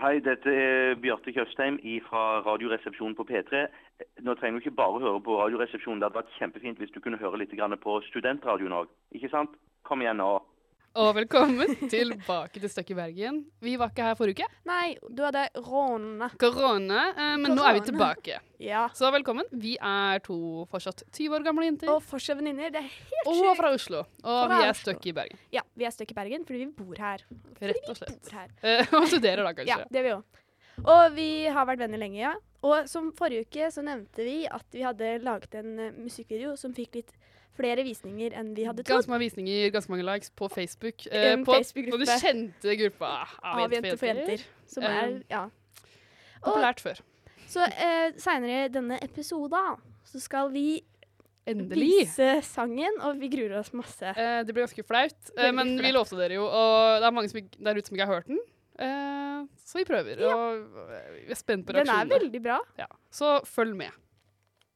Hei, dette er Bjarte Tjøstheim fra Radioresepsjonen på P3. Nå trenger du ikke bare høre på Radioresepsjonen. Det hadde vært kjempefint hvis du kunne høre litt grann på studentradioen òg. Ikke sant? Kom igjen nå. Og velkommen tilbake til Støkk i Bergen. Vi var ikke her forrige uke. Nei, du hadde råna. Korona, eh, men nå er vi Korona. tilbake. Ja. Så velkommen. Vi er to fortsatt 20 år gamle jenter. Og fortsatt venninner. Det er helt Og sjukt. fra Oslo. Og Fra vi er Oslo. støkk i Bergen. Ja, vi er støkk i Bergen fordi vi bor her. Rett og Vi slett. bor her. Eh, Og studerer da, Ja, kanskje. det er vi òg. Og vi har vært venner lenge, ja. Og som forrige uke så nevnte vi at vi hadde laget en eh, musikkvideo som fikk litt flere visninger enn vi hadde trodd. Ganske mange visninger, ganske mange likes på Facebook. eh, En på, Facebook-gruppe. på den kjente Ah, gruppa av, Av jenter for jenter. Som er, Um, ja. Og Populært før. så eh, seinere i denne episoden så skal vi Endelig. vise sangen, og vi gruer oss masse. Eh, det blir ganske flaut, eh, Veldig men vi flaut. lovte dere jo, og det er mange som ikke, der ute som ikke har hørt den. Eh, så vi prøver, og eh, vi er spent på Den er reaksjonene. veldig bra. Ja. Så følg med.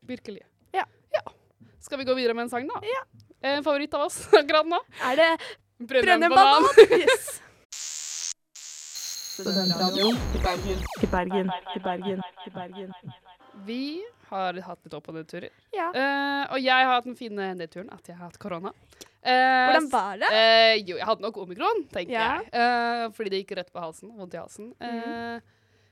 Virkelig. Ja. Skal vi gå videre med en sang, da? En favoritt av oss akkurat nå. Er det Brønn Brenne en banan. Yes. Til Bergen, til Bergen, til Bergen. Vi har hatt litt opp- og nedturer. Ja. Eh, og jeg har hatt den fine nedturen at jeg har hatt korona. Eh, Hvordan var det? Eh, jo, jeg hadde nok omikron, tenker Ja. jeg. Eh, fordi det gikk rett på halsen. Vondt i halsen. Eh,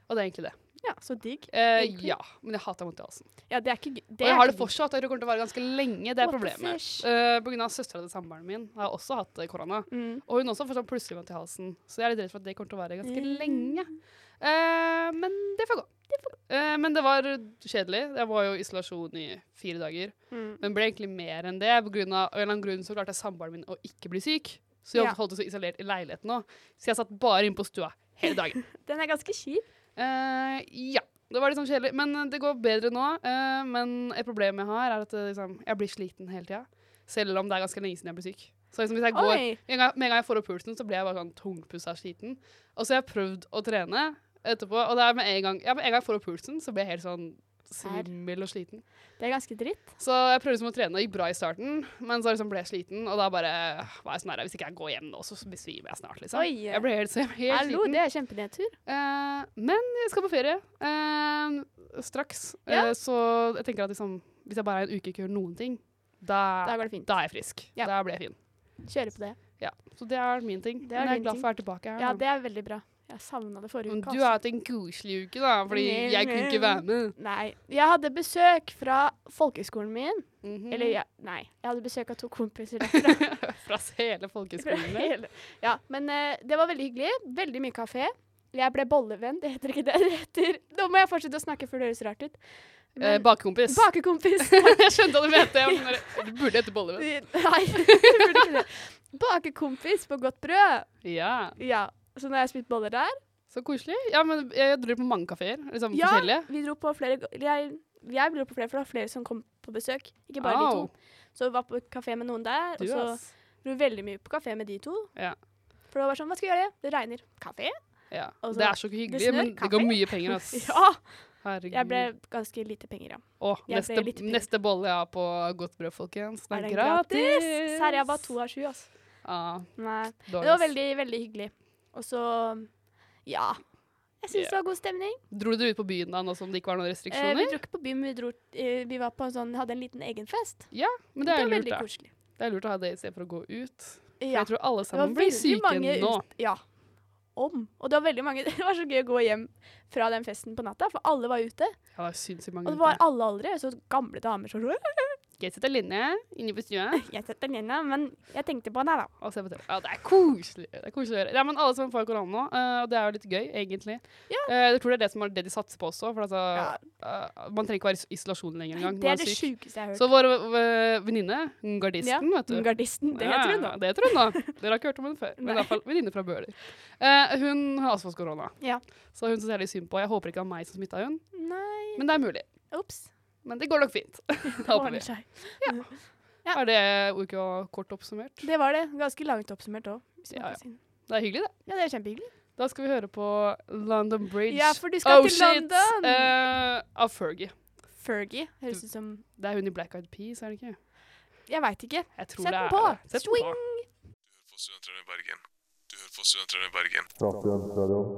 Og det er egentlig det. Ja, så digg. Eh, Mhm. Egentlig. ja, men jeg hater vondt i halsen. Ja, det er ikke gøy. og jeg har det fortsatt, og jeg tror det kommer til å vare ganske lenge. Det er What the problemet. fish? Eh, på grunn av søstera til samboeren min har også hatt eh, korona. Mm. Og hun også får sånn plutselig vondt i halsen. Så jeg er litt redd for at det kommer til å vare ganske Mm. lenge. Eh, men det får gå. Eh, men det var kjedelig. Jeg var jo i isolasjon i fire dager. Mm. Men ble egentlig mer enn det. På grunn av, av en eller annen grunn så klarte samboeren min å ikke bli syk. Så jeg Ja. holdt oss isolert i leiligheten nå. Så jeg satt bare inne på stua hele dagen. Den er ganske kjip. Eh, ja. Det var litt sånn kjedelig. Men eh, det går bedre nå. Eh, men et problem jeg har, er at eh, liksom, jeg blir sliten hele tida. Selv om det er ganske lenge siden jeg ble syk. Så liksom, hvis jeg går Oi! en gang, med en gang jeg får opp pulsen, så blir jeg bare sånn tungpussa sliten. Og så har jeg prøvd å trene etterpå, og det er med en gang, ja, med en gang jeg får opp pulsen, så blir jeg helt sånn svimmel og sliten. Det er ganske dritt. Så jeg prøvde liksom å trene, og gikk bra i starten, men så liksom ble jeg sliten, og da bare var jeg sånn her, hvis ikke jeg går hjem nå, så besvimer jeg snart, liksom. Oi. Jeg ble helt, så jeg ble helt Hallo, sliten. det er kjempenedtur. Eh, men jeg skal på ferie eh, straks, Ja. Eh, så jeg tenker at liksom, hvis jeg bare er en uke ikke gjør noen ting, da, Da går det fint. da er jeg frisk. Ja. Da blir jeg fin. Kjøre på det. Ja, så det er min ting. Det er Men jeg din er glad ting. for å være tilbake her. Ja, nå. det er veldig bra. Jeg savna det forrige Men uke. du har hatt en koselig uke, da, fordi Nei, jeg kunne ikke nei. være med. Nei. Jeg hadde besøk fra folkehøgskolen min. Mhm. Eller, ja, nei. Jeg hadde besøk av to kompiser derfra. Fra hele Fra folkehøgskolen. din. hele- ja, men eh, det var veldig hyggelig. Veldig mye kafé. Jeg ble bollevenn. Det heter ikke det. det heter. Nå må jeg fortsette å snakke før det høres rart ut. Eh, Men- bakekompis. Bakekompis. jeg skjønte hva du mente. Jeg var sånn der, du burde hete Bolle. Nei, det burde ikke det. Bakekompis på godt brød. Ja. Ja, så nå har jeg spist boller der. Så koselig. Ja, men jeg dro på mange kafeer. Liksom Ja, forskjellige. Vi dro på flere, jeg, jeg dro på flere, for det var flere som kom på besøk. Ikke bare Au, de to. Så vi var på kafé med noen der, Du, og så ass. dro vi veldig mye på kafé med de to. Ja. For det var sånn, hva skal vi gjøre? Det regner. Kafé? Ja. Og så- det er så hyggelig, Altså, det snør, men det går kaffe. mye penger, ass. Ja! Herregud. Jeg ble ganske lite penger, ja. Å, jeg neste, ble litt pigg. neste bolle jeg har på Godt brød, folkens. Den Er er, den gratis. Serr, jeg var to av sju, altså. Ja, Nei. dårlig, Det var ass. veldig, veldig hyggelig. Og så, ja. Jeg synes det var god stemning. Dro dere ut på byen da, nå som det ikke var noen Eh, vi restriksjoner? dro ikke på byen, men vi, dro, eh, vi var på en sånn, hadde en liten egen fest. men det er lurt, var Eh, veldig da. koselig. Det er lurt å ha det i stedet for å gå ut. For Ja. Jeg tror alle Det var sammen blir veldig syke mange nå. ut- Ja. Om. Og det var veldig mange Det var så gøy å gå hjem fra den festen på natta, for alle var ute. Ja, det er sinnssykt Og mange det var ute. alle aldre. Så gamle damer som sånn Skal jeg sitte alene inne på stua Jeg setter den igjen, men jeg tenkte på den her, da. og se på TV? Ja, det er koselig. Det er koselig å gjøre. Ja, men alle som får korona nå, eh, og det er jo litt gøy, egentlig. Eh, Jeg tror det er det som er det de satser på også, for altså, eh, man trenger ikke være i isolasjon lenger engang. når Det er man det er syk. sjukeste jeg har hørt. Så vår eh, venninne, gardisten, Ja, vet du. Gardisten. Det heter hun, da. Ja, det heter hun da. Dere har ikke hørt om henne før. Men i Nei. hvert fall venninne fra Bøler. Eh, hun har også fått korona. Ja. Så hun syns jeg er litt synd på. Jeg håper ikke det var meg som smitta hun, Nei men det er mulig. Ops. Men det går nok fint. Det håper vi. ordner seg. Ja. Er det uka kort oppsummert? Det var det. Ganske langt oppsummert òg. Ja, ja. Det er hyggelig, det. ja, det er kjempehyggelig. Da skal vi høre på London Bridge. Ja, for du skal Oh, til shit! London! Eh, av Fergie. Fergie høres ut som Det er hun i Black Eyed Peas, er det ikke? Jeg veit ikke. Jeg tror Sett det den er på! Sett den Swing! på. Du hører på Studentradioen i Bergen. Du hører for studentradioen i Bergen.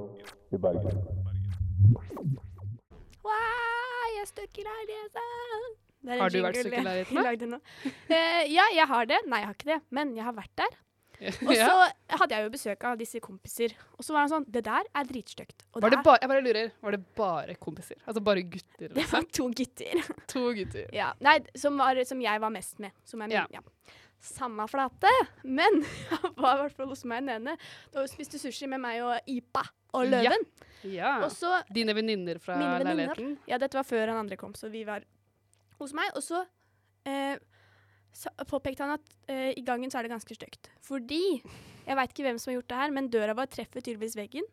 Wow, jeg er stuck i leiligheten. Det er en Har du vært jingle stuck i jeg leiligheten, da? lagde nå. Eh, ja, jeg har det. Nei, jeg har ikke det. Men jeg har vært der. Og så Ja. hadde jeg jo besøk av disse kompiser. Og så var han sånn Det der er dritstygt. Og Var det der- bare, jeg bare lurer, var det bare kompiser? Altså bare gutter? det var Liksom? to gutter To gutter. ja. Nei, som, var, som jeg var mest med. Som jeg, Ja. ja. Samme flate, men han var i hvert fall hos meg den ene. Da hun spiste sushi med meg og Ipa Ja. og Løven. Ja. Og så Dine venninner fra Mine venninner. leiligheten? Ja, dette var før han andre kom, så vi var hos meg. Og så eh, sa- påpekte han at eh, i gangen så er det ganske stygt. Fordi Jeg veit ikke hvem som har gjort det her, men døra vår treffer tydeligvis veggen.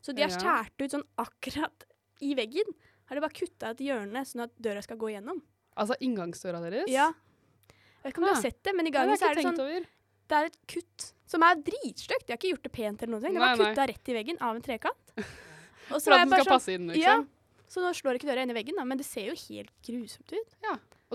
Så de har Ja. skåret ut sånn akkurat i veggen. Har de bare kutta ut hjørnet, sånn at døra skal gå igjennom. Altså inngangsdøra deres? Ja. Jeg vet ikke om du Ah. har sett det, men i Det har gangen jeg så ikke er det tenkt sånn over. Det er et kutt som er dritstygt. De har ikke gjort det pent eller noe. De har Nei, nei. kutta rett i veggen av en trekant. Og For at var jeg den bare sånn- skal passe inn, liksom. ja, så nå slår ikke døra inn i veggen, da, men det ser jo helt grusomt ut.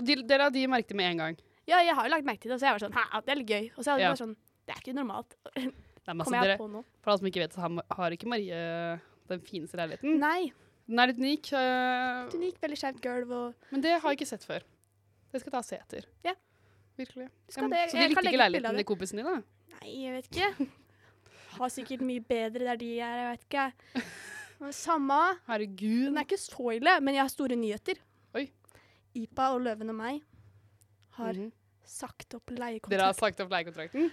Og de, dere av de merket det med en gang. Ja, jeg har jo lagt merke til det, og så jeg var sånn, hæ, det er litt gøy. Og så er det Ja. bare sånn, det er ikke normalt. Nei, men altså, Kommer jeg dere, på nå? for alle som ikke vet, så har, har ikke Marie den fineste leiligheten. Nei, Den er litt unik, eh, den gikk veldig skjevt gulv, og men det har jeg ikke sett før. Det skal jeg ta og se etter. Ja. Virkelig. skal Ja, men- det- så jeg de kan likte legge ikke ut bilde av leiligheten det. til kompisen din, da? nei, jeg vet ikke. Har sikkert mye bedre der de er, jeg vet ikke. Men Samme, Herregud. den er ikke så ille, men jeg har store nyheter. Oi. Ipa og Løven og meg har Mhm. sagt opp Dere har leiekontrakt. sagt opp leiekontrakten?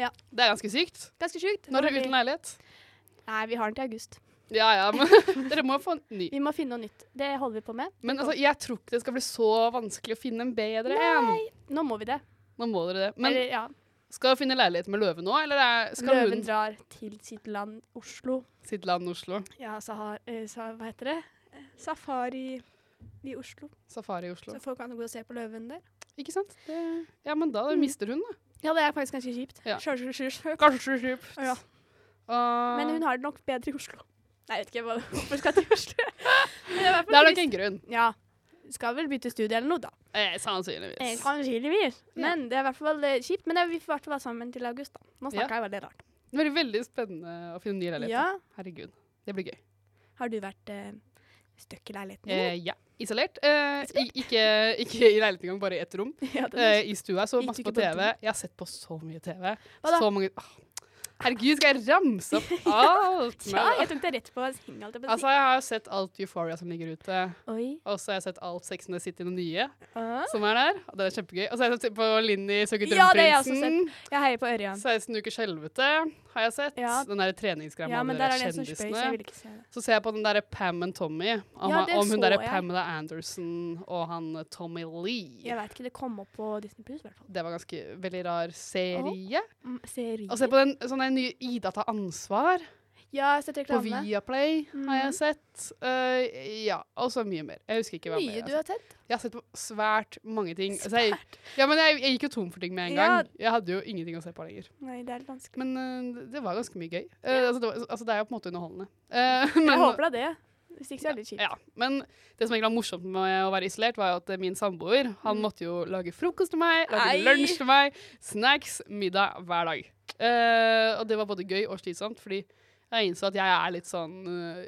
Ja. Det er ganske sykt. Ganske sykt. Når er det Nå har uten vi- leilighet? Nei, vi har den til august. Ja, ja, men dere må få en ny. Vi må finne noe nytt. Det holder vi på med. Men altså, jeg tror ikke det skal bli så vanskelig å finne en bedre en. Nei, nå må vi det. Nå må dere det. Men Eller, ja. skal dere finne leilighet med løve nå, eller er, skal Løven hun drar til sitt land, Oslo. sitt land Oslo? Ja, sahar, eh, sa, hva heter det? Eh, Safari i Oslo. Safari i Oslo. Så folk kan gå og se på løven der. Ikke sant? Det, ja, men da mister hun, da. Ja, det er faktisk ganske kjipt. Ja. Sjø, sjø, sjø, sjø. Kanskje kjipt. Ja. Ah, Men hun har det nok bedre i Oslo. Nei, jeg vet ikke hva- hvorfor skal jeg til Oslo. Men det er i hvert Det er fall nok en grunn. Ja. Skal vel bytte studie eller noe, da. Eh, sannsynligvis. Eh, Sannsynligvis. Men det er i hvert fall eh, kjipt. Men det- vi får i hvert fall være sammen til august, da. Nå Ja. snakker jeg veldig rart. Det blir veldig spennende å finne nye leiligheter. Ja. Herregud. Det blir gøy. Har du vært eh, støkk i leiligheten? Eh, ja. Isolert. Eh, i- Ikke, ikke i leiligheten engang, bare i ett rom. ja, det er Eh, I stua så altså. Gikk masse du på ikke på TV. do? Jeg har sett på så mye TV. Hva da? Så mange Åh. Herregud, skal jeg ramse opp alt? Ja, Men- jeg tok det rett på single. holdt jeg på å si. eh, Altså, jeg har sett alt Euphoria som ligger ute. Oi. Og så har jeg sett alt Sex and the City, den nye, Ah. som er der. Og det er kjempegøy. Og så har jeg sett på Linni søker Ja, det har jeg også drømmeprinsen. Jeg heier på Ørjan. 16 ukers helvete har jeg sett. Ja. Den der treningsgreia Ja, men med der alle er de det en som spør, så jeg kjendisene. vil ikke se det. Så ser jeg på den derre Pam and Tommy. Om, Ja, det om hun så derre jeg. Pamela Anderson og han eh, Tommy Lee. Jeg veit ikke, det kom opp på Disney Plus i hvert fall. Det var ganske veldig rar serie. Mm, serier. Og se på den sånn den nye Ida tar ansvar. ja, jeg har sett På reklame. Viaplay har jeg Mhm. sett. Eh, ja, og så mye mer. Jeg husker ikke hva mer. Mye jeg du har sett. Jeg har sett på svært mange ting. Altså, jeg, ja, men jeg, jeg gikk jo tom for ting med en gang. Jeg hadde jo ingenting å se på lenger. Nei, det er litt vanskelig. Men eh, det var ganske mye gøy. Eh, altså, det, var, altså, det er jo på en måte underholdende. Eh, Jeg men, håper da det. Hvis ikke så er det litt kjipt. ja, men det som egentlig var morsomt med å være isolert, var jo at eh, min samboer han måtte jo lage frokost til meg, lage Nei. lunsj til meg, snacks, middag hver dag. Eh, og det var både gøy og slitsomt, fordi jeg innså at jeg er litt sånn eh,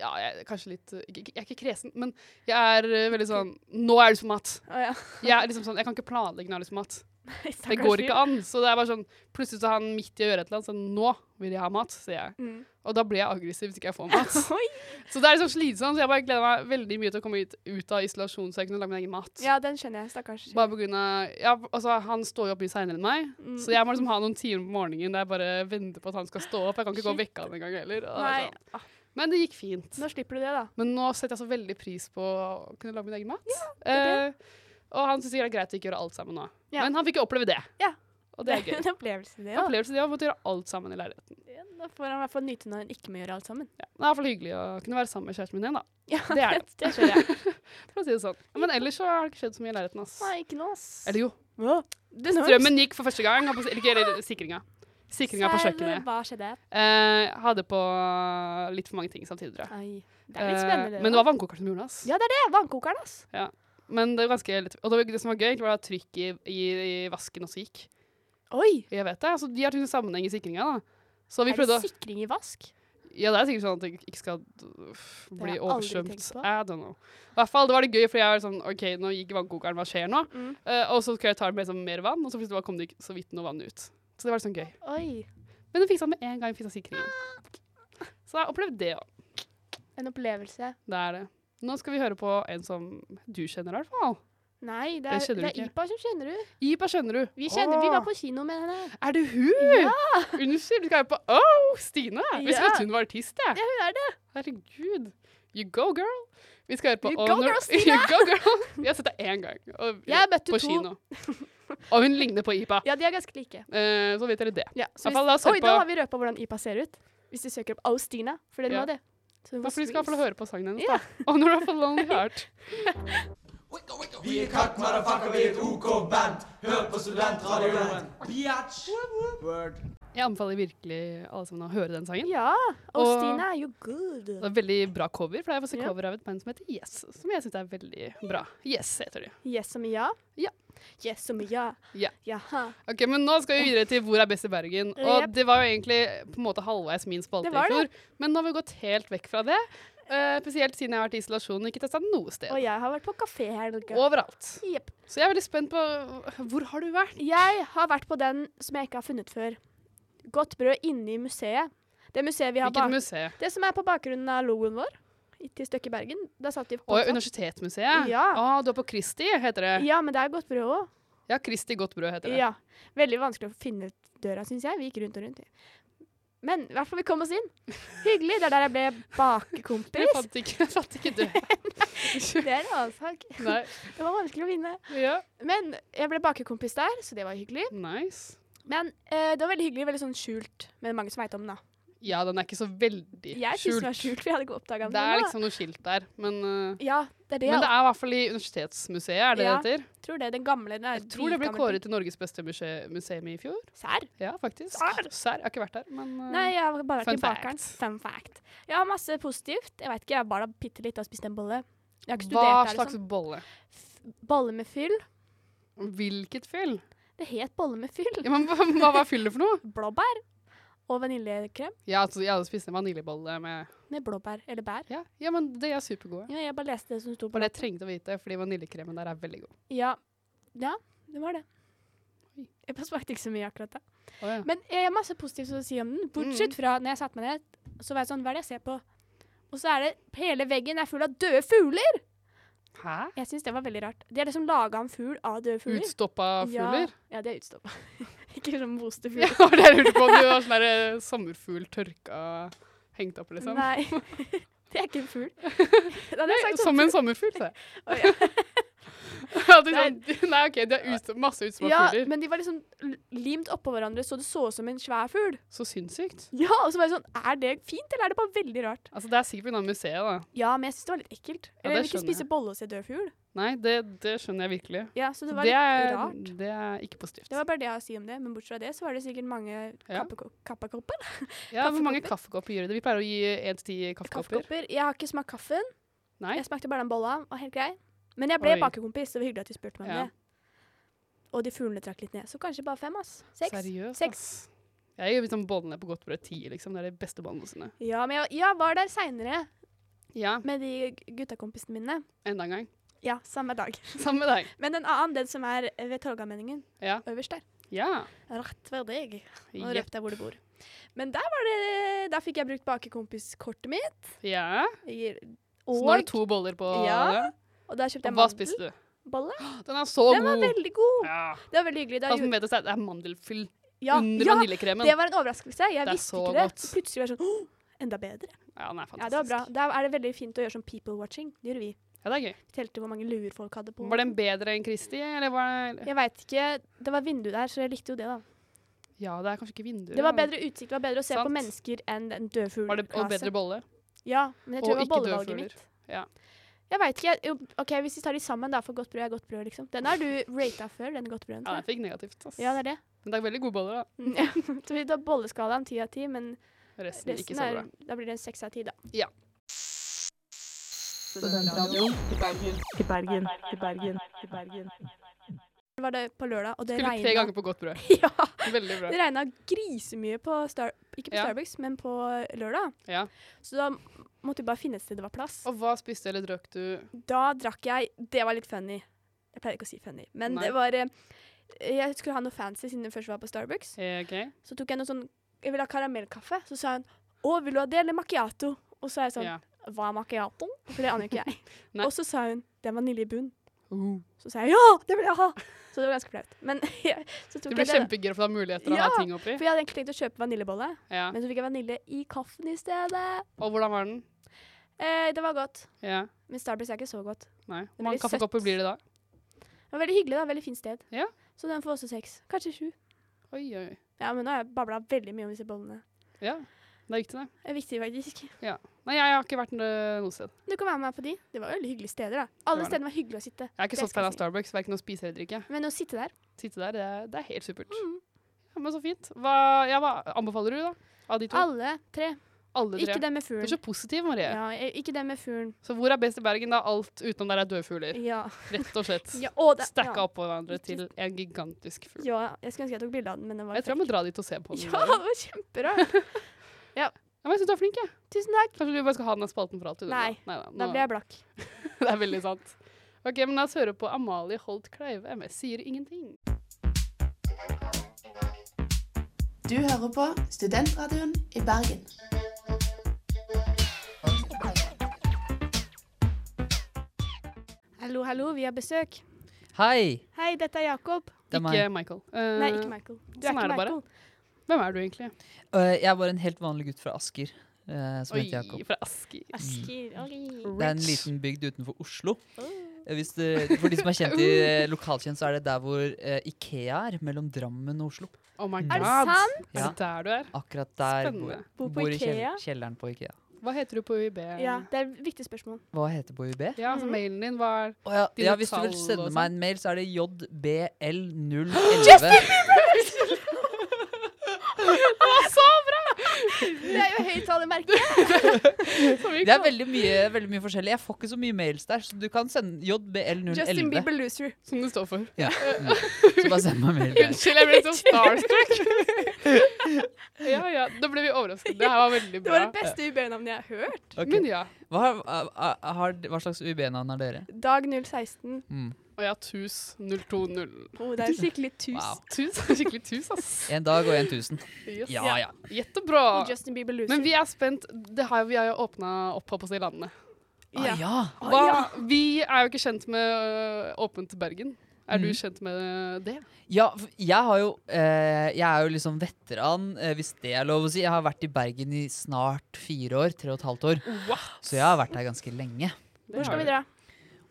Ja, jeg er kanskje litt eh, ikke- ikke- Jeg er ikke kresen, men jeg er eh, veldig sånn Nå er det som mat. Å ja. Jeg, er liksom sånn, jeg kan ikke planlegge når jeg har lyst på mat. Det går ikke an. Så det er bare sånn, plutselig så er han midt i å gjøre et eller annet, så nå vil jeg ha mat, sier jeg. Mm. Og da blir jeg aggressiv hvis ikke jeg får mat. Oi. Så det er liksom slitsomt, så jeg bare gleder meg veldig mye til å komme ut, ut av isolasjon, så jeg kunne lage min egen mat. Ja, den skjønner jeg. Stakkars. Bare på grunn av, ja, altså han står jo opp mye senere enn meg, Mm. så jeg må liksom ha noen timer på morgenen der jeg bare venter på at han skal stå opp. Jeg kan ikke gå og vekke han en gang heller. Og det er Nei. ah, sånn. Men det gikk fint. Nå slipper du det, da. Men nå setter jeg så veldig pris på å kunne lage min egen mat. er Eh, og han syns sikkert det er greit å ikke gjøre alt sammen nå. Ja. Men han fikk jo oppleve det. Ja. Og det er gøy. en opplevelse, det. En Da. opplevelse det å måtte gjøre alt sammen i leiligheten. Ja, da får han i hvert fall nyte når han ikke må gjøre alt sammen. Ja. Det er i hvert fall hyggelig å kunne være sammen med kjæresten min igjen, da. Ja, Det er det. det skjønner jeg. For å si det sånn. Men ellers så har det ikke skjedd så mye i leiligheten, ass. Nei, ikke nå, ass. Eller jo. Hva? Strømmen gikk for første gang. Eller ikke eller sikringa. Sikringa på kjøkkenet. Hva skjedde? Eh, hadde på eh, litt for mange ting samtidig, tror jeg. Ai. Det er litt Eh, spennende. men det var vannkokeren som gjorde det, ass. Ja, det er det. Vannkokeren, ass. Men det var ganske lett. Og det, var- det som var gøy, egentlig var at trykket i, i, i vasken også gikk. Oi. Jeg vet det. Altså, de har tydeligvis en sammenheng i sikringa. da. Så vi Er det prøvde å sikring i vask? Ja, det er sikkert sånn at jeg ikke skal øh, har bli jeg aldri oversvømt. tenkt på. I don't know. I hvert fall, det var det gøy, fordi jeg var sånn OK, nå gikk vannkokeren, hva skjer nå? Mm. Eh, og så skulle jeg ta med liksom, mer vann, og så plutselig bare kom det ikke så vidt noe vann ut. Så det var sånn gøy. Oi. Men hun fiksa med en gang, fiksa sikringen. Så jeg opplevde det òg. En opplevelse. Det er det. Nå skal vi høre på en som du kjenner, i hvert fall. Nei, det Jeg er, kjenner det du er ikke. Ipa som kjenner du. Ipa kjenner du. Vi kjenner, vi Åh, var på kino med henne. Er det hun? Unnskyld, vi skal jo på Oh, Stine! Vi skal Ja. at hun var artist, jeg. Ja, hun er det. Herregud. You go, girl. Vi skal høre på You Honor- go, girl, Stine! You go, girl. Vi har sett deg én gang. Og, Jeg har møtt på henne to. kino. Og hun ligner på Ipa. Ja, de er ganske like. Eh, så vet dere det. Ja, så I hvert fall, la oss høre oi, på- da har vi røpa hvordan Ipa ser ut. Hvis du søker opp Austina, for dere Ja. må det. Så hun Ja, får for vi skal i hvert fall streams. høre på sangen hennes, da. Honor of a Lonely Heart. Vi er katt, motherfucker, vi er et OK band. Hør på studentradioen. Biatch! Word. Jeg anbefaler virkelig alle sammen å høre den sangen. Ja, Og- Austina er jo good. Det er veldig bra cover, for jeg har fått se Ja. cover av et band som heter Yes, som jeg syns er veldig bra. Yes, heter de. Yes som i ja. Ja. Yes som i ja. Ja. Jaha. Ok, men nå skal vi videre til Hvor er best i Bergen? Og Jep. det var jo egentlig på en måte halvveis min spalte Det i var fjor, men nå har vi gått helt vekk fra det. eh, spesielt siden jeg har vært i isolasjon og ikke testa noe sted. Og jeg har vært på kafé i helga. Overalt. Jep. Så jeg er veldig spent på Hvor har du vært? Jeg har vært på den som jeg ikke har funnet før. Godt brød inne i museet. Det museet vi har Hvilket bak museum? Det som er på bakgrunnen av logoen vår, i- til Støkk i Bergen. Der satt de på Å, ja, topp. Universitetsmuseet? Ja. Å, du er på Kristi, heter det. Ja, men det er godt brød òg. Ja, Kristi Godt Brød heter det. Ja. Veldig vanskelig å finne ut døra, syns jeg. Vi gikk rundt og rundt. Men i hvert fall vi kom oss inn. Hyggelig. Det er der jeg ble Jeg bakekompis. fant ikke, jeg fant ikke døra. Det er en annen sak. Nei. Det var vanskelig å vinne. Ja. Men jeg ble bakekompis der, så det var hyggelig. Nice. Men eh, det var veldig hyggelig, veldig sånn skjult, men mange som veit om den, da. Ja, den er ikke så veldig Jeg syns den var skjult, for jeg hadde ikke oppdaga den. Det er da. liksom noe skilt der, men eh, Ja, det er det. Men det jeg er i hvert fall i Universitetsmuseet, er det Ja. det heter? tror det. Den gamle. Den er Jeg tror det ble dritgammel. kåret til Norges beste muse- museum i fjor. Sær? Ja, faktisk. Sær! Sær. Jeg har ikke vært der, men eh, Nei, jeg har bare Fun vært i bakeren. fact. Fun fact. Jeg har masse positivt. Jeg vet ikke, jeg bare bitte litt og spiste en bolle. Jeg har ikke hva studert der, slags liksom. bolle? F- Bolle med fyll. Hvilket fyll? Det het bolle med fyll. Ja, men hva, hva var fyllet for noe? Blåbær og vaniljekrem Ja, altså, jeg hadde spist en vaniljebolle med med blåbær eller bær. Ja, ja men de er supergode. Ja, jeg bare leste det som sto på Bare det jeg trengte å vite, fordi vaniljekremen der er veldig god. lappen. Ja. ja, det var det. Oi. Jeg bare smakte ikke så mye akkurat da. Å, ja. Men jeg har masse positivt å si om den. Mm. Bortsett fra når jeg satte meg ned, så var jeg sånn Hva er det jeg ser på? Og så er det Hele veggen er full av døde fugler! Hæ? Jeg syns det var veldig rart. De har liksom laga en fugl av døde fugler. Utstoppa fugler? Ja, ja det er utstoppa. ikke sånn moste Ja, fugler. det var det jeg lurte på. Du var sånn der sommerfugl tørka hengt opp, liksom. Nei, det er ikke en fugl. Da hadde Nei, jeg sagt sånn som en sånn sommerfugl, det. Å, ja. Ja, de sånn, nei, OK, de har ut, masse utstoppa Ja, fugler. men de var liksom l- limt oppå hverandre, så det så ut som en svær fugl. Så sinnssykt. Ja, og så var jeg sånn Er det fint, eller er det bare veldig rart? Altså, det er sikkert pga. museet, da. Ja, men jeg syns det var litt ekkelt. Eller jeg vil skjønner ikke spise jeg. bolle og se død fugl. Nei, det, det skjønner jeg virkelig. Ja, så det var Det litt er, rart. det er ikke positivt. Det var bare det jeg har å si om det, men bortsett fra det så var det sikkert mange Ja. kappeko- kappakopper. ja, hvor mange kaffekopper. kaffekopper gjør det? Vi pleier å gi én til ti kaffekopper. Kaffekopper. Jeg har ikke smakt kaffen. Nei? Jeg smakte bare den bolla, var helt grei. Men jeg ble Oi. bakekompis, så det var hyggelig at du spurte meg om Ja. det. Og de fuglene trakk litt ned, så kanskje bare fem, ass. Seks. Seriøst, Seks. ass. Jeg gir liksom bollene på godt brød ti, liksom. Det er de beste bollene sine. Ja, men jeg, jeg var der seinere Ja, med de g- guttakompisene mine. enda en gang. Ja, samme dag. Sammen med deg. Men en annen, den som er ved Torgallmenningen, Ja. øverst der. Ja. Rett ved deg. Nå Jepp. røpte jeg hvor du bor. Men der var det Der fikk jeg brukt bakekompiskortet mitt. Ja. Jeg- Så nå er Og, det to boller på Ja, det. og der kjøpte jeg Og hva spiste du? mandelbolle. Den er så Den var god. Altså, veldig god. Ja. Det var veldig hyggelig. Da Alt som gjorde- vet, det er mandelfyll ja, under ja, vaniljekremen. det var en overraskelse. Jeg Det er visste så ikke det. godt. Så Plutselig var jeg sånn «Åh, Enda bedre. Ja, den er Ja, fantastisk. det var bra. Da er det veldig fint å gjøre sånn people watching. Det gjorde vi. Ja, det er gøy. Vi telte hvor mange luer folk hadde på. Var den bedre enn Kristi, eller var det Jeg veit ikke. Det var vindu der, så jeg likte jo det, da. Ja, det er kanskje ikke vinduer. Det var da. bedre utsikt, det var bedre å se Sant. på mennesker enn en død fugl. Var det og rase. bedre bolle? Ja, men jeg Og tror det var ikke døde bollevalget fugler. mitt. Ja. Jeg veit ikke. jeg- jo, OK, hvis vi tar de sammen, da, for godt brød er godt brød, liksom. Den har du rata før, den godt brøden. Ja, jeg tror jeg. fikk negativt. Ass. Ja, det er det. Men det er veldig gode boller, da. Ja, så vi tar bolleskalaen ti av ti, men Resten, ikke resten så er, bra. da blir det en seks av ti, da. Studentradioen i Bergen. I Bergen. I Bergen. I Bergen. var det på lørdag, og det Skulle tre regna ganger på godt brød. ja, Veldig bra. det regna grisemye på Star... Ikke på Ja. Starbucks, men på lørdag. Ja. Så da måtte vi bare finne et sted det var plass. Og hva spiste eller drakk du? Da drakk jeg Det var litt funny. Jeg pleier ikke å si funny, men Nei. det var eh, Jeg skulle ha noe fancy siden det først var på Starbucks. Eh, ok. Så tok jeg noe sånn Jeg ville ha karamellkaffe. Så sa hun Å, vil du ha det eller macchiato? Og så er jeg sånn Ja. Hva er macchiato? For det aner jo ikke jeg. Nei. og så sa hun Det er vanilje i bunn. Uh. Så sa jeg ja, det vil jeg ha! Så det var ganske flaut. Men jeg, så Du tok ble jeg det. da. kjempegira for å ha muligheter å Ja, ha ting oppi. For jeg hadde egentlig tenkt å kjøpe vaniljebolle, Ja. men så fikk jeg vanilje i kaffen i stedet. Og hvordan var den? Eh, det var godt. Ja. Men Starbucks er ikke så godt. Nei. Hvor Den er mange litt kaffekopper søt. blir det da? Det var veldig hyggelig, da. Veldig fint sted. Ja. Så den får også seks. Kanskje sju. Oi, oi, oi. Ja, men nå har jeg babla veldig mye om disse bollene. Ja. Det er viktig, det. Det er viktig, faktisk. Nei, jeg har ikke vært øh, noe sted. Du kan være med meg på de. Det var veldig hyggelige steder, da. Alle Det var det. stedene var hyggelige å sitte. Jeg er ikke Det sånn skal fan jeg av si. Starbucks, verken å spise eller drikke. Men å sitte der Sitte der, det er, det er helt supert. Mm. Ja, men så fint. Hva, ja, hva anbefaler du, da? Av de to? Alle tre. Alle tre. Ikke den med Du fuglen. er så positiv, Marie. Ja, eh, ikke den med fuglen. Så hvor er best i Bergen, da? Alt utenom der er døde fugler. Ja. Rett og slett. ja. å, det- Stacka ja. opp på hverandre til en gigantisk fugl. Ja, jeg skulle ønske jeg tok bilde av den, men den var Jeg tror jeg må dra dit og se på den. Ja, der. det var kjemperart. Ja, men jeg syns du er flink, jeg. Tusen takk. Kanskje du bare skal ha den her spalten for alltid? du, Nei. da. Neida, Da nå- ble jeg blakk. Det er veldig sant. Ok, men La oss høre på Amalie Holt Kleive med 'Sier ingenting'. Du hører på Studentradioen i Bergen. Hallo, hallo, vi har besøk. Hei! Hei, dette er Jakob. Det er meg. Ikke Michael. Eh, Nei, ikke Michael. Du er sånn er ikke det bare. Michael. Hvem er du egentlig? Øh, jeg er bare en helt vanlig gutt fra Asker eh, som heter Jakob. fra Asker. Asker. oi. Det er en liten bygd utenfor Oslo. Eh, Hvis det, for de som er kjent i eh, lokalkjent, så er det der hvor eh, Ikea er, mellom Drammen og Oslo. Oh my god. Er det sant? Mm. Ja. Er det der du er? Akkurat der Spennende. Bo bor, på bor i kjell, Ikea? kjelleren på Ikea. Hva heter du på UiB? Ja, det er et viktig spørsmål. Hva heter på UiB? Ja, altså Mhm. mailen din var Å ja, Dine ja, hvis du tall vil og sende sånn. meg en mail, så er det jbl011. Det er jo høyttalermerke. Det er veldig mye, veldig mye forskjellig. Jeg får ikke så mye mails der, så du kan sende jbl011. Justin Bieber loser. som det står for. Ja. Mm. Så bare send meg mail der. Unnskyld, jeg ble så starstruck. ja, ja. Da ble vi overrasket. Det her var veldig Det bra. var det beste UB-navnet jeg har hørt. Ok. Men ja. Hva, har- a- a- har, hva slags UB-navn har dere? Dag 016. Mm. Og ja, TUS 020. Oh, det er skikkelig tus. Wow. TUS? Skikkelig TUS, ass. En dag og en tusen. Yes. Ja, ja. Jettebra. Og Justin Bieber loser. Men vi er spent. Det har, vi har jo åpna opp her på seg i landene. Ah, ja. ja. Å, Hva, ja. Vi er jo ikke kjent med øh, Åpent Bergen. Er du Mhm. kjent med det? Ja, f- jeg har jo eh, Jeg er jo liksom veteran, eh, hvis det er lov å si. Jeg har vært i Bergen i snart fire år. Tre og et halvt år. Så jeg har vært her ganske lenge. Det Hvor har skal vi du. dra?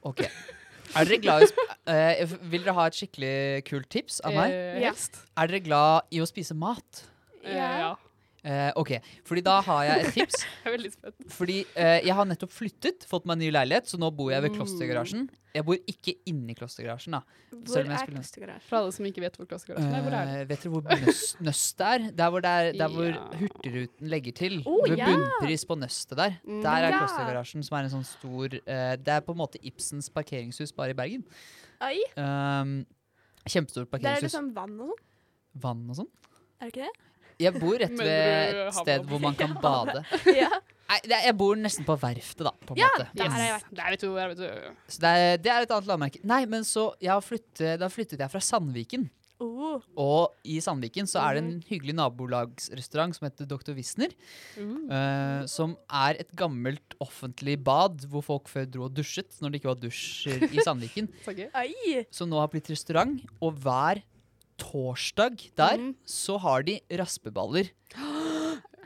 Ok. Er dere glad i sp eh, f- Vil dere ha et skikkelig kult tips av meg? Eh, Ja. helst. Er dere glad i å spise mat? Eh, ja. Eh, ok, fordi da har jeg et tips. Jeg er veldig spent. Fordi eh, jeg har nettopp flyttet, fått meg ny leilighet, så nå bor jeg Mm. ved Klostergarasjen. Jeg bor ikke inni Klostergarasjen, da. Hvor Selv om jeg er skulle- Klostergarasjen? For alle som ikke vet hvor Klassegarasjen er, hvor er det? Eh, vet dere hvor nøst, nøst det er? Der hvor, det er, der hvor Ja. Hurtigruten legger til. Å, ved ja! Bunnpris på Nøstet der. Mm. Der er Ja. Klostergarasjen, som er en sånn stor eh, Det er på en måte Ibsens parkeringshus, bare i Bergen. Oi, Um, kjempestort der er det parkeringshus. sånn vann og sånn. Vann og sånn. Er det ikke det? Jeg bor rett Men ved du et har sted vann. hvor man kan bade. Ja. Nei, det er, jeg bor nesten på verftet, da. På en Ja, måte. der Mm. har jeg vært. Der vet du, der vet du. Så det er, det er et annet landmerke. Nei, men så jeg har flyttet, Da flyttet jeg fra Sandviken. Oh, Og i Sandviken så er det Mhm. en hyggelig nabolagsrestaurant som heter Dr. Wisner. Mhm. eh, som er et gammelt offentlig bad hvor folk før dro og dusjet når det ikke var dusjer i Sandviken. Så gøy. oi. Som nå har blitt restaurant. Og hver torsdag der Mhm. så har de raspeballer.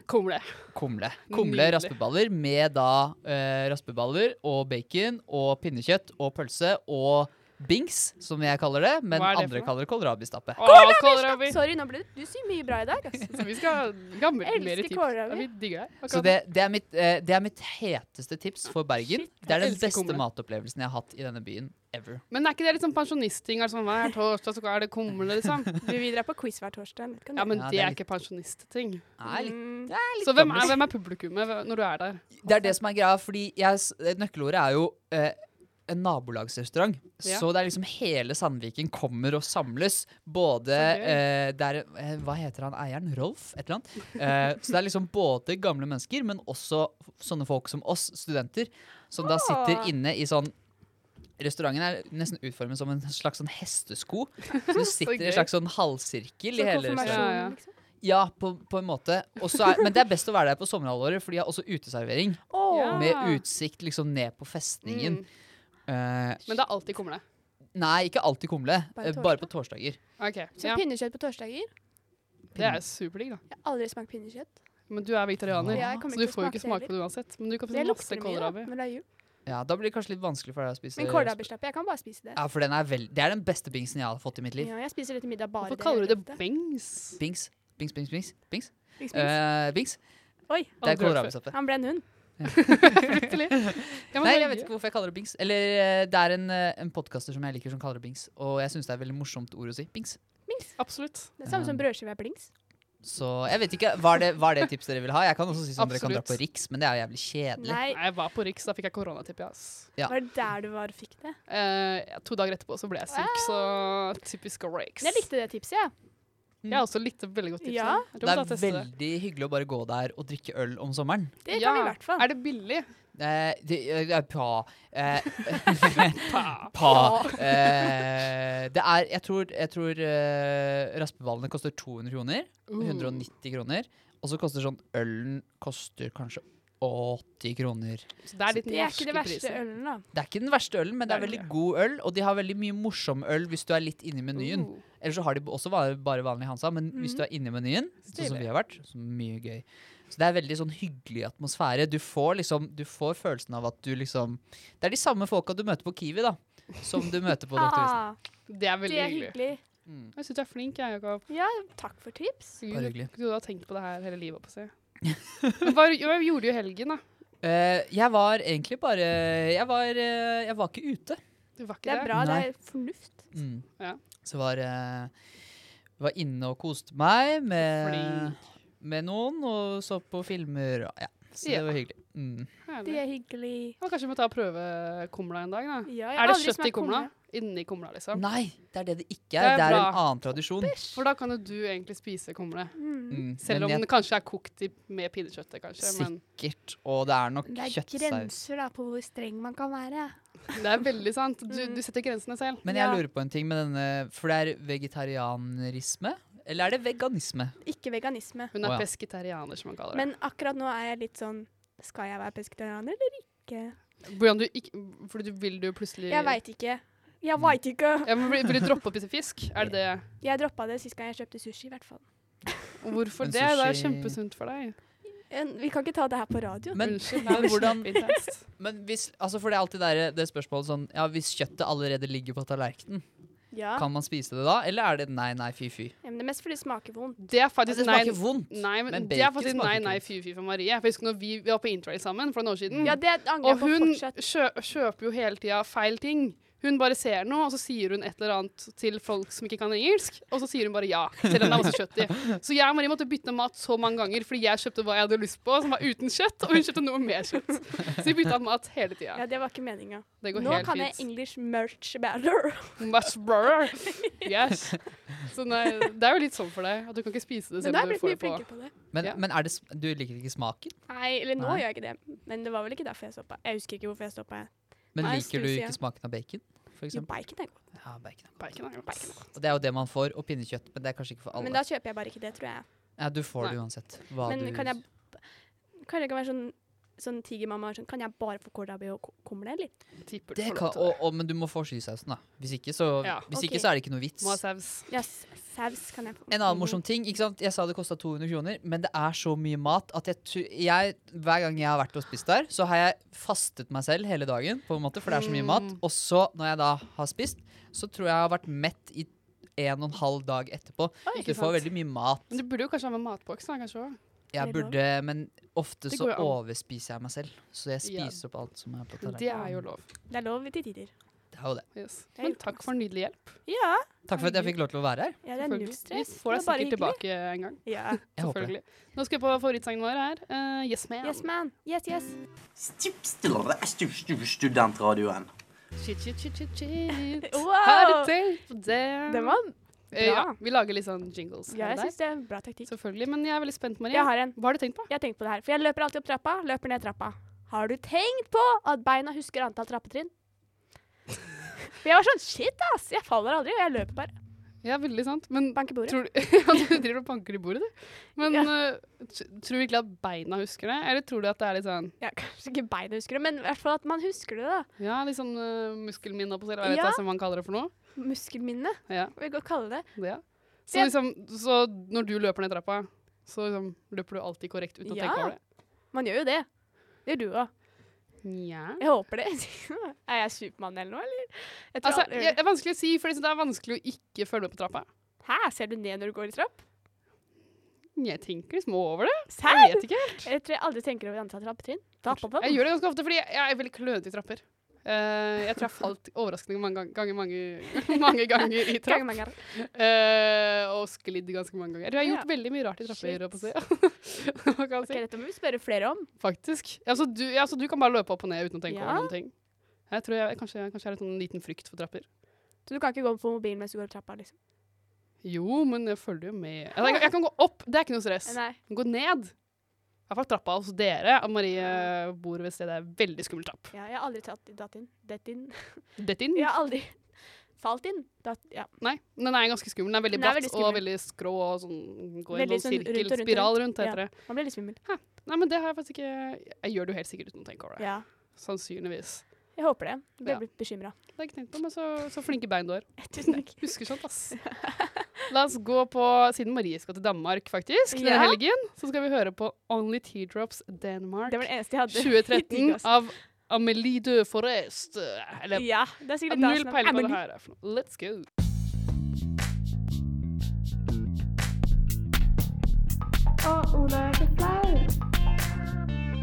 Kommer det. Kumle. Kumle Nydelig. raspeballer med da eh, raspeballer og bacon og pinnekjøtt og pølse og bings, som jeg kaller det. Men Hva er det for andre noe? kaller det kålrabistappe. Å, kålrabi! Sorry, nå ble det Du sier mye bra i dag, ass. Så vi skal ga mer Elsker mer tips. kålrabi. Ja, Vi digger deg. Så Akkurat det, det, er mitt, eh, det er mitt heteste tips for Bergen. det er jeg den elsker beste kumle. matopplevelsen jeg har hatt i denne byen ever. Men er ikke det litt sånn pensjonistting? Altså, hver torsdag så er det kumle, liksom. Du, vi drar på quiz hver torsdag. Vet ikke Ja, om det- men Ja, det det er er ikke pensjonistting. Nei, litt, Mm, Så hvem er, hvem er publikummet hve- når du er der? det er det som er greia, fordi jeg, s- nøkkelordet er jo eh, en nabolagsrestaurant. Ja. Så det er liksom hele Sandviken kommer og samles. Både Så gøy. eh, det er, eh, Hva heter han eieren? Rolf? Et eller annet. Eh, så det er liksom både gamle mennesker, men også f- sånne folk som oss, studenter, som da Ah. sitter inne i sånn Restauranten er nesten utformet som en slags sånn hestesko. Så du sitter i gøy. en slags sånn halvsirkel i hele restauranten. Ja, ja. konfirmasjonen, liksom. Ja, på, på en måte. Og så er, men det er best å være der på sommerhalvåret, for de har også uteservering. Ja. Med utsikt liksom ned på festningen. Mm. Eh, Men det er alltid kumle. nei, ikke alltid kumle. Bare eh, Bare på torsdager. Ok, Så ja, pinnekjøtt på torsdager. Jeg Det er superdigg, da. har aldri smakt pinnekjøtt. Men du er vegetarianer, Ja, jeg kommer så du ikke til å får jo ikke smake smake på det det uansett. Men du kan få Det masse lukter mye, da, kålrabi. men det er jul. Ja, da blir det kanskje litt vanskelig for deg å spise Men kålrabistappe, jeg kan bare spise det. Ja, for den er vel, Det er den beste bingsen jeg har fått i mitt liv. Ja, jeg spiser det til middag bare Hvorfor kaller du det juleaften. bengs? Bings, bings, bings, bings. bings. Bings, bings. Eh, bings. Oi, Det er Aldri hørt kålrabistappe. han ble en hund. Fryktelig. Ja, men Nei, det er jeg vet gøy. ikke hvorfor jeg kaller det bings. Eller eh, det er en, eh, en podkaster som jeg liker som kaller det bings. Og jeg syns det er et veldig morsomt ord å si. Bings. Absolutt. Det er samme som Um, brødskive er blings. Så jeg vet ikke, Var det, var det tips dere vil ha? Jeg kan også si som dere kan dra på Absolutt. Riks, men det er jo jævlig kjedelig. Nei, Nei, jeg var på Riks, da fikk jeg koronatipp, ja. ass. Ja. var det der du var og fikk det? Eh, ja, to dager etterpå så ble jeg syk, så typisk Riks. Ah. Men jeg likte det tipset, jeg. Jeg har også likt det veldig godt tipset. Ja. Jeg tror Det vi er tar teste veldig hyggelig å bare gå der og drikke øl om sommeren. Det kan Ja. vi i hvert fall. Er det billig? Eh, det, eh, pa, eh, Pa. pa. Eh, det er Jeg tror, jeg tror eh, raspeballene koster 200 kroner. Uh. 190 kroner. Og så koster sånn ølen koster kanskje 80 kroner. Så det er litt Det er ikke norske det verste priser. ølen, da. Det er ikke den verste ølen, men det er Det er veldig god øl. Og de har veldig mye morsom øl hvis du er litt inne i menyen. Uh. Eller så har de også va- bare vanlig Hansa, men hvis du er inne i menyen, sånn som Stilig. vi har vært, så mye gøy. Så det er veldig sånn hyggelig atmosfære. Du får liksom, du får følelsen av at du liksom Det er de samme folka du møter på Kiwi, da, som du møter på Dr. Visen. Ah, Det er det veldig er hyggelig. hyggelig. Mm. Jeg syns du er flink, jeg, Jakob. Ja, takk for tips. Gud, Bare hyggelig. Du har tenkt på det her hele livet, på å si. Men hva, hva gjorde du i helgen, da? Eh, jeg var egentlig bare Jeg var, eh, jeg var ikke ute. Du var Det ikke er det? bra, det Nei. er fornuft. Mm. Ja. Så var eh, var inne og koste meg med, Flink. med noen og så på filmer. og- Ja, så Ja. det var hyggelig. Mm. Herlig. Det er hyggelig. Ja, kanskje vi må ta og prøve kumla en dag, da. Ja, jeg har Er det aldri kjøtt i smakt kumla? Inni kumla, liksom? Nei, det er det det ikke Det er. er Det er bra. en annen tradisjon. For da kan jo du egentlig spise kumle. Mm. Mm, Selv men om jeg- den kanskje er kokt i, med pinnekjøttet, kanskje. Men Sikkert. Og det er nok Det er kjøttsaus. grenser da på hvor streng man kan være. det er veldig sant. Du, du setter grensene selv. Men jeg Ja. lurer på en ting med denne, for det er vegetarianisme? Eller er det veganisme? Ikke veganisme. Hun er Å, ja. pesketarianer, som man kaller det. Men akkurat nå er jeg litt sånn Skal jeg være pesketarianer eller ikke? Hvordan du ikke For du vil du plutselig Jeg veit ikke. Jeg veit ikke. Ja, men vil, vil du droppe å spise fisk? Er det det? Jeg droppa det sist gang jeg kjøpte sushi, i hvert fall. Og Hvorfor Men det? Det er sushi- kjempesunt for deg. En, vi kan ikke ta det her på radio. Men, Unnskyld, det er men hvordan kjempeintenst. men hvis, altså For det er alltid der, det spørsmålet sånn Ja, hvis kjøttet allerede ligger på tallerkenen, ja. kan man spise det da? Eller er det nei, nei, fy, fy? Ja, Men det er mest fordi det smaker vondt. Det er Det faktisk smaker nei- vondt. Nei, men, men det er bacon faktisk smaker nei, ikke nei, fy, fy for Marie. For jeg husker når vi vi var på interrail sammen for noen år siden. Ja, det angrer jeg og på hun fortsatt. kjø kjøper jo hele tida feil ting. Hun bare ser noe, og så sier hun et eller annet til folk som ikke kan engelsk. Og så sier hun bare ja, selv om det er masse kjøtt i. Så jeg og Marie måtte bytte mat så mange ganger fordi jeg kjøpte hva jeg hadde lyst på, som var uten kjøtt, og hun kjøpte noe med kjøtt. Så vi bytta mat hele tida. Ja, det var ikke meninga. Det går Nå helt kan jeg fint. English merch better. Much brother. Yes. Så nei, det er jo litt sånn for deg at du kan ikke spise det Men selv da har om jeg du blitt får det mye på. flinkere på det. Men, Ja. men er det, sm- du liker ikke smaken? Nei, eller nå Nei. gjør jeg ikke det. Men det var vel ikke derfor jeg stoppa. Jeg husker ikke hvorfor jeg stoppa. Men Nei, liker du sushi, ja. ikke smaken av bacon? For Jo, eksempel? bacon er godt. Ja, bacon. er godt. Bacon er godt. Og det er jo det man får. Og pinnekjøtt. Men det er kanskje ikke for Men alle. da kjøper jeg bare ikke det, tror jeg. Ja, du får det Nei. uansett. Hva Men du kan jeg Kanskje jeg kan være sånn, sånn tigermamma sånn, Kan jeg bare få kålrabi og ko- kumle, eller? Tipper du Det får kan, lov til det. og, og, men du må få skisausen, da. Hvis, ikke så, Ja. hvis Ok. ikke så er det ikke noe vits. Må ha saus. Ja, s- saus kan jeg få. En Mhm. annen morsom ting. ikke sant? Jeg sa det kosta 200 kroner, men det er så mye mat at jeg, tu- jeg Hver gang jeg har vært og spist der, så har jeg fastet meg selv hele dagen, på en måte, for det er så mye mat. Mm. Og så, når jeg da har spist, så tror jeg jeg har vært mett i en og en halv dag etterpå. Du ikke sant. får veldig mye mat. Men du burde jo kanskje ha med matboks, da, kanskje òg. Det er Jeg lov. burde, men ofte Det så går jo an. overspiser jeg meg selv. Så jeg Ja. spiser opp alt som er på Det er jo tallerkenen. lov. Det er lov til tider. Det er jo det. Yes. Det er Men gjort takk masse. for nydelig hjelp. Ja. Takk for at jeg fikk lov til å være her. ja det er Selvfølgelig. null stress. Vi får deg Det er bare sikkert tilbake en gang. hyggelig. Ja. Jeg håper det. Selvfølgelig. Nå skal vi på favorittsangen vår her. Eh, yes, man. Yes, man. Yes, yes. Studentradioen. Shit, shit, shit, shit, shit. Har du Wow! tenkt på det? Den var Eh, Ja, vi lager litt sånn jingles her Jeg og der. syns det er en bra taktikk. Selvfølgelig, men jeg er veldig spent, Maria. Jeg har en. Hva har du tenkt på? Jeg har tenkt på det her. For jeg løper alltid opp trappa, løper ned trappa. Har du tenkt på at beina husker antall trappetrinn? For jeg var sånn shit, ass! Jeg faller aldri, og jeg løper bare. Ja, veldig sant. Men Banker bordet. tror du, ja, du driver og banker i bordet, du. Men eh, t- tror du virkelig at beina husker det? Eller tror du at det er litt sånn Ja, kanskje ikke beina husker det, men i hvert fall at man husker det, da. Ja, litt sånn uh, muskelminne, oppå seg, eller hva vet Ja. jeg som man kaller det for noe? Muskelminne, Ja, vil jeg godt kalle det. det. ja. Så, Ja. liksom, så når du løper ned trappa, så liksom, løper du alltid korrekt uten å Ja. tenke over det? Man gjør jo det. Det gjør du òg. Nja. Jeg håper det. er jeg Supermann eller noe, eller? Jeg tror Altså, alle jeg- gjør det. det er vanskelig å si, for liksom, det er vanskelig å ikke følge med på trappa. Hæ, ser du ned når du går i trapp? Jeg tenker liksom over det. Serr? Jeg vet ikke helt. Jeg tror jeg aldri tenker over antall trappetrinn. Da hopper Jeg man. gjør det ganske ofte fordi jeg- jeg er veldig klønete i trapper. Eh, jeg tror jeg falt overraskende mange gang- ganger, mange, mange ganger i trapp. Gang, gang, gang. Eh, og sklidd ganske mange ganger. Jeg tror jeg har gjort Ja. veldig mye rart i trapper. Shit. holdt jeg på å si. Hva kan jeg si? Ok, dette må vi spørre flere om. Faktisk. Ja, så du, ja, så du kan bare løpe opp og ned uten å tenke Ja. over noen ting. Jeg tror jeg kanskje, kanskje jeg har litt sånn liten frykt for trapper. Så du kan ikke gå på mobilen mens du går opp trappa, liksom? Jo, men jeg følger jo med. Altså, jeg, jeg kan gå opp, det er ikke noe stress. Eh, Nei. Gå ned. I hvert fall trappa hos dere. Og Marie bor ved et sted det er veldig skummel trapp. Ja, jeg har aldri tatt, datt inn. Dett inn. Dett inn. Jeg har aldri falt inn. Datt, ja. Nei, den er ganske skummel. Den er veldig Den er bratt veldig og skummel. veldig skrå og sånn går i en Veldig sånn sånn sirkel, rundt og rundt og spiral rundt. rundt, heter det. Man blir litt svimmel. Nei, men det har jeg faktisk ikke Jeg gjør det jo helt sikkert uten å tenke over det. Ja. Sannsynligvis. Jeg håper det. Ja. Jeg ble blitt bekymra. Det har jeg ikke tenkt på, men så, så flinke bein du har. Tusen takk. Husker sånt, ass. La oss gå på Siden Marie skal til Danmark, faktisk, denne Ja. helgen, så skal vi høre på Only Teardrops Denmark Det var det eneste jeg hadde. 2013 Digg, ass. av Amelie de Forest. eh, Eller Ja, det altså. er sikkert Null dansen av peiling på hva Emily. det her er for noe. Let's go. Å, Ola, jeg er så flau.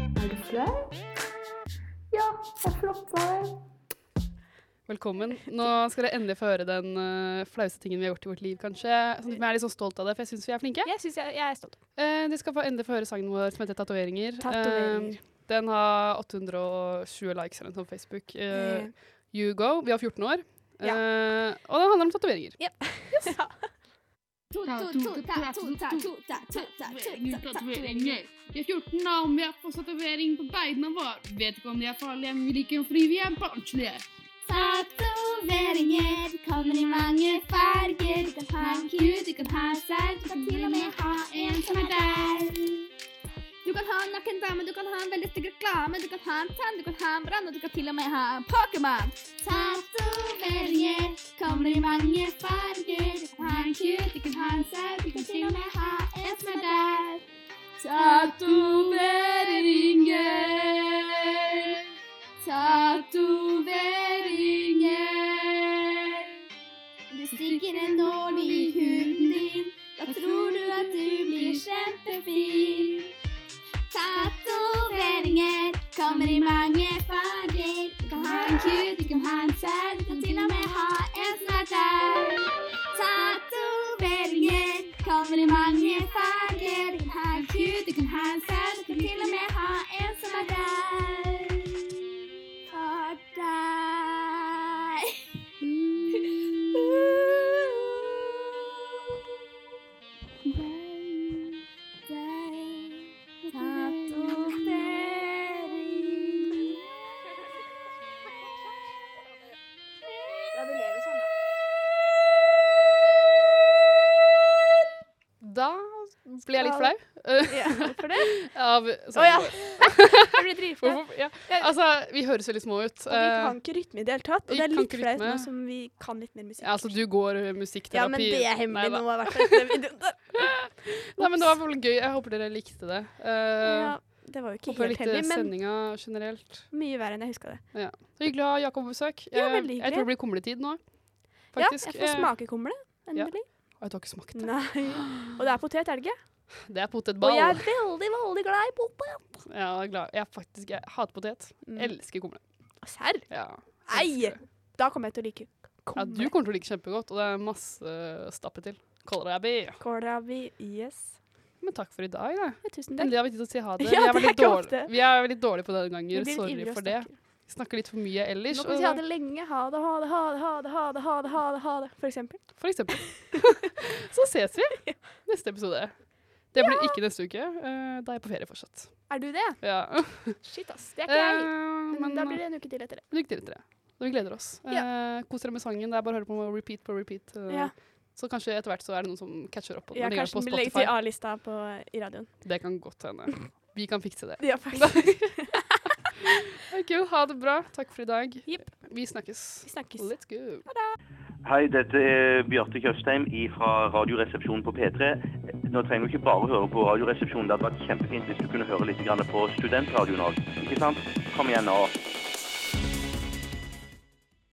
Er du flau? Ja, jeg floppa. Velkommen. Nå skal dere endelig få høre den uh, flaueste tingen vi har gjort i vårt liv, kanskje. Sånn at vi er litt sånn stolt av det, for jeg syns vi er flinke. Jeg syns jeg, jeg er stolt. Eh, de skal få endelig få høre sangen vår som heter 'Tatoveringer'. Tatoveringer. Eh, den har 820 likes eller noe sånt på Facebook. Eh, Eh. you go. Vi har 14 år. Eh, og den handler om tatoveringer. tatoveringer. De er 14 år, og vi har fått tatovering på beina våre. Vet ikke om de er farlige, men vi liker dem fordi vi er barnslige. Tatoveringer kommer i mange farger. Du kan ha en ku, du kan ha en sær, du kan til og med ha en som er der. Du kan ha en naken dame, du kan ha en veldig stygg reklame, du kan ha en tann, du kan ha en brann, og du kan til og med ha en Pokémon. Tatoveringer kommer i mange farger. Du kan ha en ku, du kan ha en sær, du kan til og med ha en som er der. Tatoveringer. Tatoveringer. Det stikker en nål i huden din. Da tror du at du blir kjempefin. Tatoveringer kommer i mange farger. Du kan ha en kuk, du kan ha en skjær, du kan til og med ha en som er der. Tatoveringer kommer i mange farger. Du kan ha en kuk, du kan ha en skjær, du kan til og med ha en som er der. For deg. Deg, deg. Tatovering. Da ble jeg litt flau. eh, Ja, hvorfor det? av Å ja. Jeg blir dritflau. Hvorfor- ja. Jeg- Altså, vi høres veldig små ut. Og vi Eh, kan ikke rytme i det hele tatt. Og vi det er kan litt ikke flaut rytme. nå som vi kan litt mer musikk. ja, altså, du går eh, musikkterapi. Ja, men det er Nei, hemmelig da. nå, i hvert fall. Nei, men det var veldig gøy. Jeg håper dere likte det. Eh, Ja, det var jo ikke håper dere helt likte hemmelig, men sendinga generelt. mye verre enn jeg huska det. Så hyggelig å ha Jakob på besøk. Ja, Eh, veldig jeg tror hyggelig. det blir kumletid nå. Ja, Faktisk. jeg får Eh, smakekumle. ja. Endelig. Oi, du har ikke smakt det. Nei. Og det er potet, er det ikke? Det er Og potetball. jeg Jeg... er veldig, veldig glad i potet. Ja, jeg er glad. Jeg, er faktisk, jeg hater potet. Mm. Elsker kumle. Serr? Ja, Nei! elsker det. Da kommer jeg til å like Ja, du kumle. kommer til å like kjempegodt, og det er masse eh, stappe til. Kålrabi. Kålrabi. Yes. Men takk for i dag, da. Ja, Tusen takk. Endelig har vi tid til å si ha det. Ja, vi, er det er veldig ikke dårlig- ofte. vi er veldig dårlige på det noen Vi ganger. blir Sorry ivrige og for det. snakker. Vi snakker litt for mye ellers. Nå kan vi si ha det lenge. Ha det, ha det, ha det, ha det, ha det, ha det, ha det, ha det for eksempel. For eksempel. Så ses vi neste episode. Det blir ikke neste uke. eh, Da er jeg på ferie fortsatt. Er du det? mm. Ja. Shit, ass. Det er ikke jeg. Eh, Men da blir eh, det en uke til etter det. men lykke til etter det. Så vi gleder oss. Eh, Kos dere med sangen. Det er bare å høre på repeat på repeat. eh, Ja. Så kanskje etter hvert så er det noen som catcher opp. Og Ja, legger det kanskje på den blir legget Spotify. til A-lista på, i radioen. Det kan godt hende. Vi kan fikse det. Ja, faktisk. Ok, Ha det bra. Takk for i dag. Jipp. Vi snakkes. Vi snakkes. Let's go. Hei, dette er Bjarte Tjøstheim fra Radioresepsjonen på P3. Nå trenger du ikke bare høre på Radioresepsjonen. Det hadde vært kjempefint hvis du kunne høre litt grann på studentradioen òg. Ikke sant? Kom igjen nå.